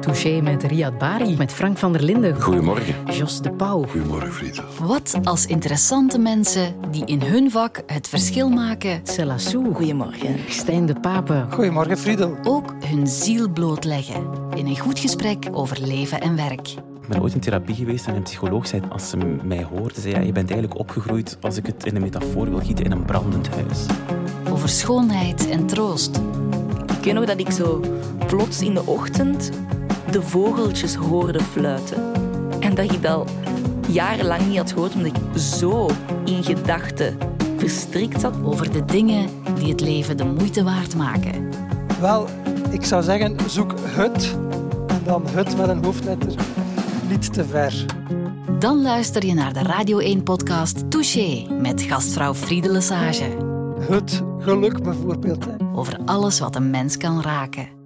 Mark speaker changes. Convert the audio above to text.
Speaker 1: Touché met Riyad Bari, met Frank van der Linden.
Speaker 2: Goedemorgen.
Speaker 1: Jos de Pauw.
Speaker 2: Goedemorgen, Frieda.
Speaker 3: Wat als interessante mensen die in hun vak het verschil maken,
Speaker 1: Selassou.
Speaker 4: Goedemorgen.
Speaker 1: Stijn de Pape.
Speaker 5: Goedemorgen, Friedel.
Speaker 3: ook hun ziel blootleggen. In een goed gesprek over leven en werk.
Speaker 6: Ik ben ooit in therapie geweest en een psycholoog zei, als ze mij hoorde, zei ja, je bent eigenlijk opgegroeid, als ik het in een metafoor wil gieten, in een brandend huis.
Speaker 3: Over schoonheid en troost.
Speaker 4: Ik weet nog dat ik zo plots in de ochtend de vogeltjes hoorde fluiten. En dat ik dat al jarenlang niet had gehoord, omdat ik zo in gedachten verstrikt zat.
Speaker 3: Over de dingen die het leven de moeite waard maken.
Speaker 5: Wel, ik zou zeggen, zoek het en dan het met een hoofdletter niet te ver.
Speaker 3: Dan luister je naar de Radio 1-podcast Touché met gastvrouw Friede Lesage.
Speaker 5: Het geluk bijvoorbeeld. Hè.
Speaker 3: Over alles wat een mens kan raken.